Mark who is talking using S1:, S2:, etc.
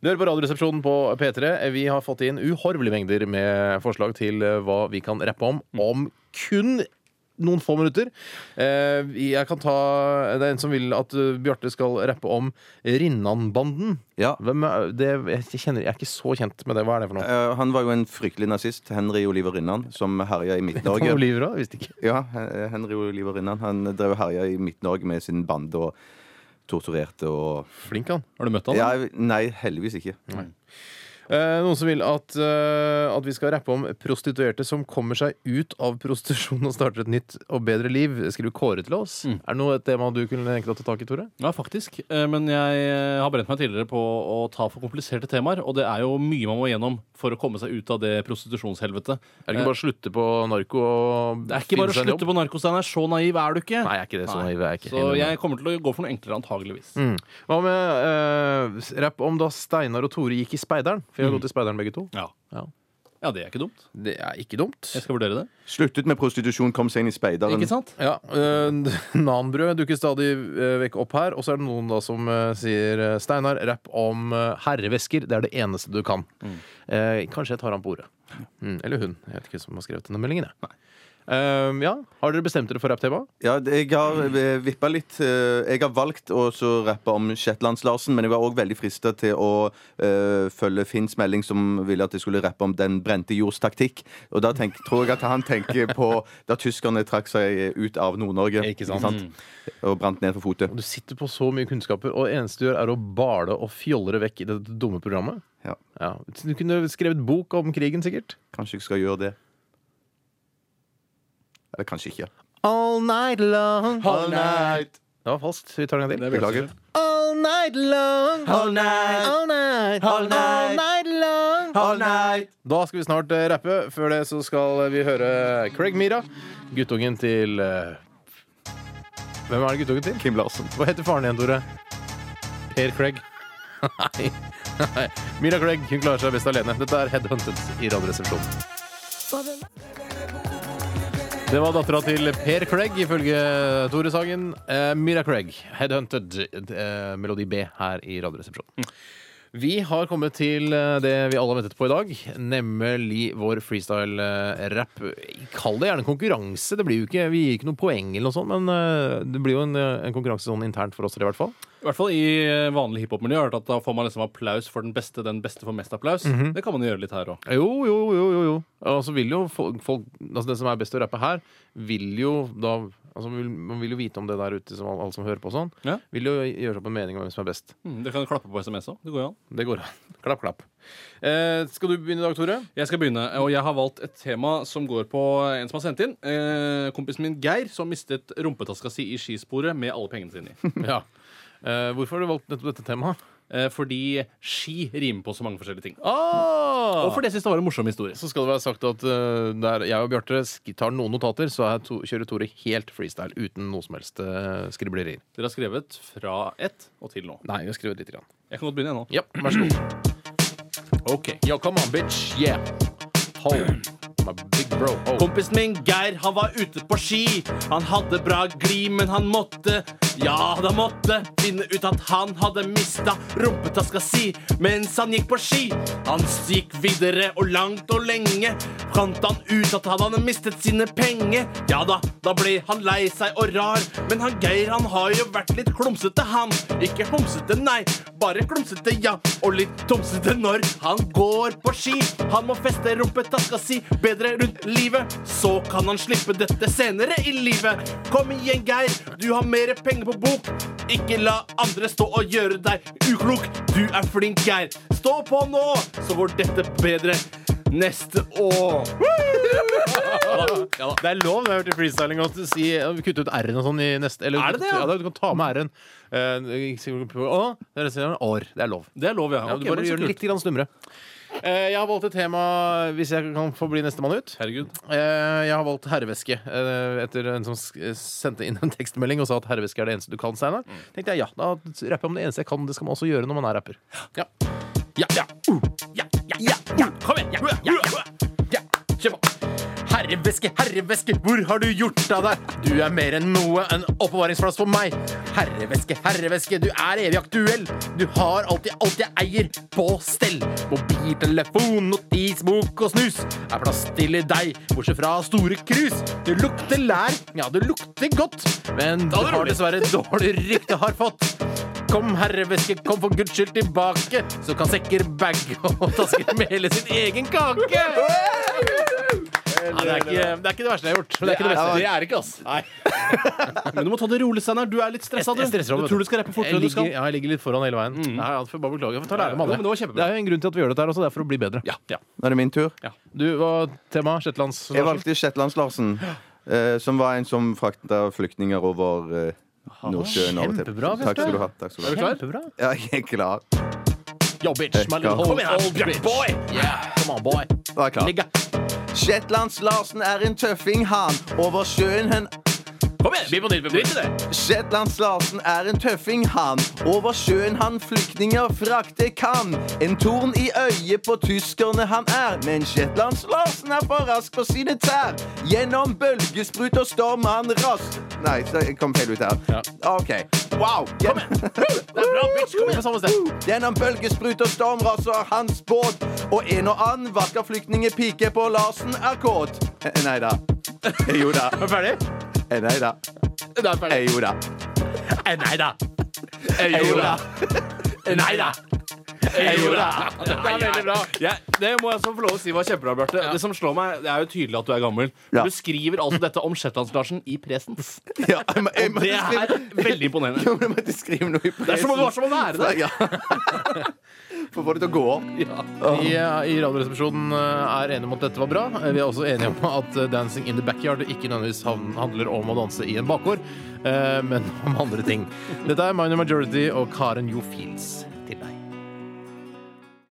S1: Du hører på Radioresepsjonen på P3. Vi har fått inn uhorvelige mengder med forslag til eh, hva vi kan rappe om om kun noen få minutter. Eh, Jeg kan ta, det er en som vil at eh, Bjarte skal rappe om Rinnanbanden.
S2: Ja.
S1: Hvem er det? Jeg, kjenner, jeg er ikke så kjent med det. Hva er det for noe?
S2: Eh, han var jo en fryktelig nazist, Henry Oliver Rinnan, som herja i
S1: Tom
S2: Midt-Norge.
S1: Oliver, da? Visste ikke.
S2: Ja, eh, Henry Oliver Rinnan Han drev og herja i Midt-Norge med sin bande og torturerte og
S1: Flink han.
S3: Har du møtt han? da?
S2: ja, Nei, heldigvis ikke.
S1: Eh, noen som vil at, eh, at vi skal rappe om prostituerte som kommer seg ut av prostitusjon og starter et nytt og bedre liv. Skriver Kåre til oss. Er det noe et tema du kunne tenke deg å ta tak i, Tore?
S3: Ja, faktisk. Eh, Men jeg eh, har brent meg tidligere på å ta for kompliserte temaer. Og det er jo mye man må gjennom for å komme seg ut av det prostitusjonshelvetet.
S1: Er det ikke bare å slutte på narko og
S3: Det er ikke bare å slutte på narkosteiner. Så naiv er du ikke.
S1: Nei, jeg er ikke det. Så
S3: Nei.
S1: naiv er jeg ikke.
S3: Så jeg kommer til å gå for noe enklere, antageligvis.
S1: Mm. Hva med uh, rapp om da Steinar og Tore gikk i Speideren? For vi har gått i Speideren begge to.
S3: Ja.
S1: Ja.
S3: ja, det er ikke dumt.
S1: Mm. Det er ikke dumt.
S3: Jeg skal vurdere det.
S2: Sluttet med prostitusjon, kom seg inn i speideren.
S3: Ikke sant?
S1: Ja, eh, Nanbrød dukker stadig eh, vekk opp her. Og så er det noen da som eh, sier eh, Steinar, rapp om eh, herrevesker. Det er det eneste du kan. Eh, kanskje jeg tar han på ordet. Mm, eller hun. Jeg vet ikke hvem som har skrevet denne meldingen. Jeg. Eh, ja, Har dere bestemt dere for rapptema?
S2: Ja, det- jeg har eh, vippa litt. eh, Jeg har valgt å så rappe om Shetlands-Larsen, men jeg var òg veldig frista til å eh, følge Finns melding, som ville at jeg skulle rappe om den brente jords taktikk. Og da tenk, tror jeg at han tenker på da tyskerne trakk seg ut av Nord-Norge
S1: Ikke sant.
S2: og brant ned for fotet.
S1: Du sitter på så mye kunnskaper, og det eneste du gjør, er å bale og fjolle det vekk i dette dumme programmet.
S2: Ja,
S1: Ja. Du kunne skrevet bok om krigen, sikkert.
S2: kanskje jeg skal gjøre det. Eller kanskje ikke.
S1: All night long.
S2: All night.
S1: Det var falskt. Vi tar en gang til.
S2: Beklager.
S1: All night long.
S2: All night.
S1: All night.
S2: All night.
S1: All night long.
S2: All night.
S1: Da skal vi snart eh, rappe. Før det så skal eh, vi høre Craig Mira, guttungen til eh, Hvem er det guttungen til?
S2: Kim Larsen.
S1: Hva heter faren igjen, Tore? Per Craig. Nei. Nei. Mira Craig hun klarer seg best alene. Dette er Headhunted i Radioresepsjonen. Det var dattera til Per Craig, ifølge Tore Sagen. Eh, Mira Craig, Headhunted, eh, melodi B her i Radioresepsjonen. Vi har kommet til eh, det vi alle har ventet på i dag, nemlig vår freestyle-rapp. Kall det gjerne en konkurranse. Det blir jo ikke, vi gir ikke noe poeng, eller noe sånt, men eh, det blir jo en, eh, en konkurranse sånn internt for oss tre, i hvert fall.
S3: I hvert fall i eh, vanlig hiphop-miljø. har jeg hørt at Da får man liksom applaus for den beste, den beste får mest applaus. Det kan man jo gjøre litt her òg.
S1: Jo, jo, jo, jo, jo. Og så vil jo folk, folk altså Den som er best til å rappe her, vil jo da altså vil, Man vil jo vite om det der ute, som alle, alle som hører på og sånn.
S3: Ja.
S1: Vil jo gjøre seg opp en mening om hvem som er best.
S3: Mm, dere kan klappe på SMS òg. Det går jo an.
S1: Det går an. Klapp, klapp. Eh, skal du begynne i dag, Tore?
S3: Jeg skal begynne, og jeg har valgt et tema som går på en som har sendt inn. Eh, kompisen min Geir, som mistet rumpetaska si i skisporet med alle pengene sine i.
S1: Ja. Eh, hvorfor har du valgt nettopp dette temaet?
S3: Eh, fordi ski rimer på så mange forskjellige ting.
S1: Ah!
S3: Og for det synes jeg var en morsom historie.
S1: så skal det være sagt at eh, der jeg og Bjarte sk- tar noen notater, så er to, kjører Tore helt freestyle uten noe som helst eh, skriblerier.
S3: Dere har skrevet fra ett og til nå.
S1: Nei, vi har skrevet lite grann.
S3: Jeg kan godt begynne, jeg nå.
S1: Ja, vær så god. OK. Yo, come on, bitch. Yeah. Home. My big bro. Home.
S3: Kompisen min Geir, han var ute på ski. Han hadde bra gli, men han måtte, ja, han måtte finne ut at han hadde mista rumpetaska si mens han gikk på ski. Han gikk videre og langt og lenge. Fant han ut at han hadde mistet sine penger? Ja da, da ble han lei seg og rar. Men han Geir, han har jo vært litt klumsete, han. Ikke homsete, nei, bare klumsete, ja. Og litt tomsete når han går på ski. Han må feste rumpetaska si bedre rundt livet. Så kan han slippe dette senere i livet. Kom igjen, Geir, du har mer penger på bok. Ikke la andre stå og gjøre deg uklok. Du er flink, Geir. Stå på nå, så går dette bedre neste år.
S1: Det er lov når jeg har hørt i freestyling at du sier kutte ut R-en og sånn i neste eller,
S3: Er det det, ja?
S1: da, Du kan ta med R-en. Eh, ikke sikkert på- Å, det er det som er år. Det er lov.
S3: Det er lov, ja.
S1: Ja, du bare gjør den litt grann snummere. Eh, jeg har valgt et tema, hvis jeg kan få bli nestemann ut.
S3: Herregud.
S1: Eh, Jeg har valgt herreveske eh, etter en som sk- sendte inn en tekstmelding og sa at herreveske er det eneste du kan, Steinar. Tenkte jeg ja, da rapper jeg om det eneste jeg kan. Det skal man også gjøre når man er rapper. Ja. Uh.
S3: Ja, ja, ja, ja. Kom igjen. Ja, ja, ja. ja. Kjør på.
S1: Herreveske, herreveske, hvor har du gjort av deg? Du er mer enn noe, en oppbevaringsplass for meg. Herreveske, herreveske, du er evig aktuell. Du har alltid alt jeg eier på stell. Mobiltelefon, notisbok og snus. Er plass til deg, bortsett fra store krus. Du lukter lær, ja, du lukter godt, men du har dessverre dårlig rykte har fått. Kom, herreveske, kom for guds skyld tilbake, så kan sekker bag og tasker mele sin egen kake. Nei, det, er ikke, det er ikke det verste jeg har gjort. Men det er ikke det beste.
S4: Det er ikke, ass.
S3: Men du må ta det rolig, Steinar. Du er litt stressa, du.
S1: Jeg stresser over
S3: Du
S1: det.
S3: tror du skal rappe fortere
S1: Jeg
S3: enn du
S1: ligger,
S3: skal. Mm.
S1: ja, jeg ligger litt foran hele veien. Nei, jeg får bare beklage. Jeg får ta lærdom av
S3: Jo, men det var kjempebra.
S1: Det er jo en grunn til at vi gjør dette her også, det er for å bli bedre.
S3: Ja.
S2: Nå er det min tur.
S1: Du, hva tema? Shetlands?
S2: Jeg valgte Shetlands-Larsen, eh, som var en som frakta flyktninger over eh, Nordsjøen. av og til.
S1: Kjempebra, Bjarte.
S2: Takk skal du ha. Takk skal du ha.
S1: Kjempebra.
S2: Ja, jeg er klar.
S1: Yo, bitch, my little
S2: Kom
S1: old,
S3: igjen,
S1: old
S3: Bjørn
S1: bitch.
S3: boy.
S1: Yeah, come on, boy.
S2: Da er jeg klar.
S1: Ligga.
S2: Shetlands-Larsen er en tøffing, han. Over sjøen hen
S3: Kom igjen! Begynn på nytt. Drit i det.
S2: Shetlands-Larsen er en tøffing, han. Over sjøen han flyktninger frakte kan. En torn i øyet på tyskerne han er. Men Shetlands-Larsen er for rask på sine tær. Gjennom bølgesprut og storm han raskt Nei, så jeg kom feil ut her. OK. Wow. Kom
S3: Det er bra, bitch. Kom igjen.
S2: Gjennom bølgesprut og storm raser hans båt. Og en og annen vakker flyktningepike på Larsen er kåt. Nei da. Eh, Jo da. Eh,
S1: Er du ferdig?
S2: Nei da.
S1: Da er jeg ferdig.
S2: Jo da.
S1: Eh, Nei da.
S2: Eh, Jo da.
S1: Eh, Nei da.
S3: Jo da.
S1: Det er veldig bra.
S3: Ja, det må jeg også få lov å si var kjempebra, Bjarte. Det som slår meg, det er jo tydelig at du er gammel.
S2: Ja.
S3: Du skriver altså dette om Shetlands-Larsen i presens.
S2: Ja, jeg må- jeg
S3: Og det
S2: måtte
S3: er
S2: skrive-
S3: veldig imponerende.
S2: Jo, men jeg måtte skrive noe i pressen.
S3: Det er som om det var som å være der.
S2: Ja. For å få det til å gå opp.
S1: Vi eh, i Radioresepsjonen eh, er enige om at dette var bra. Eh, Vi er også enige om at eh, Dancing in the backyard ikke nødvendigvis han- handler om å danse i en bakgård, eh, men om andre ting. Dette er Minor Majority og Karen Jo Fields.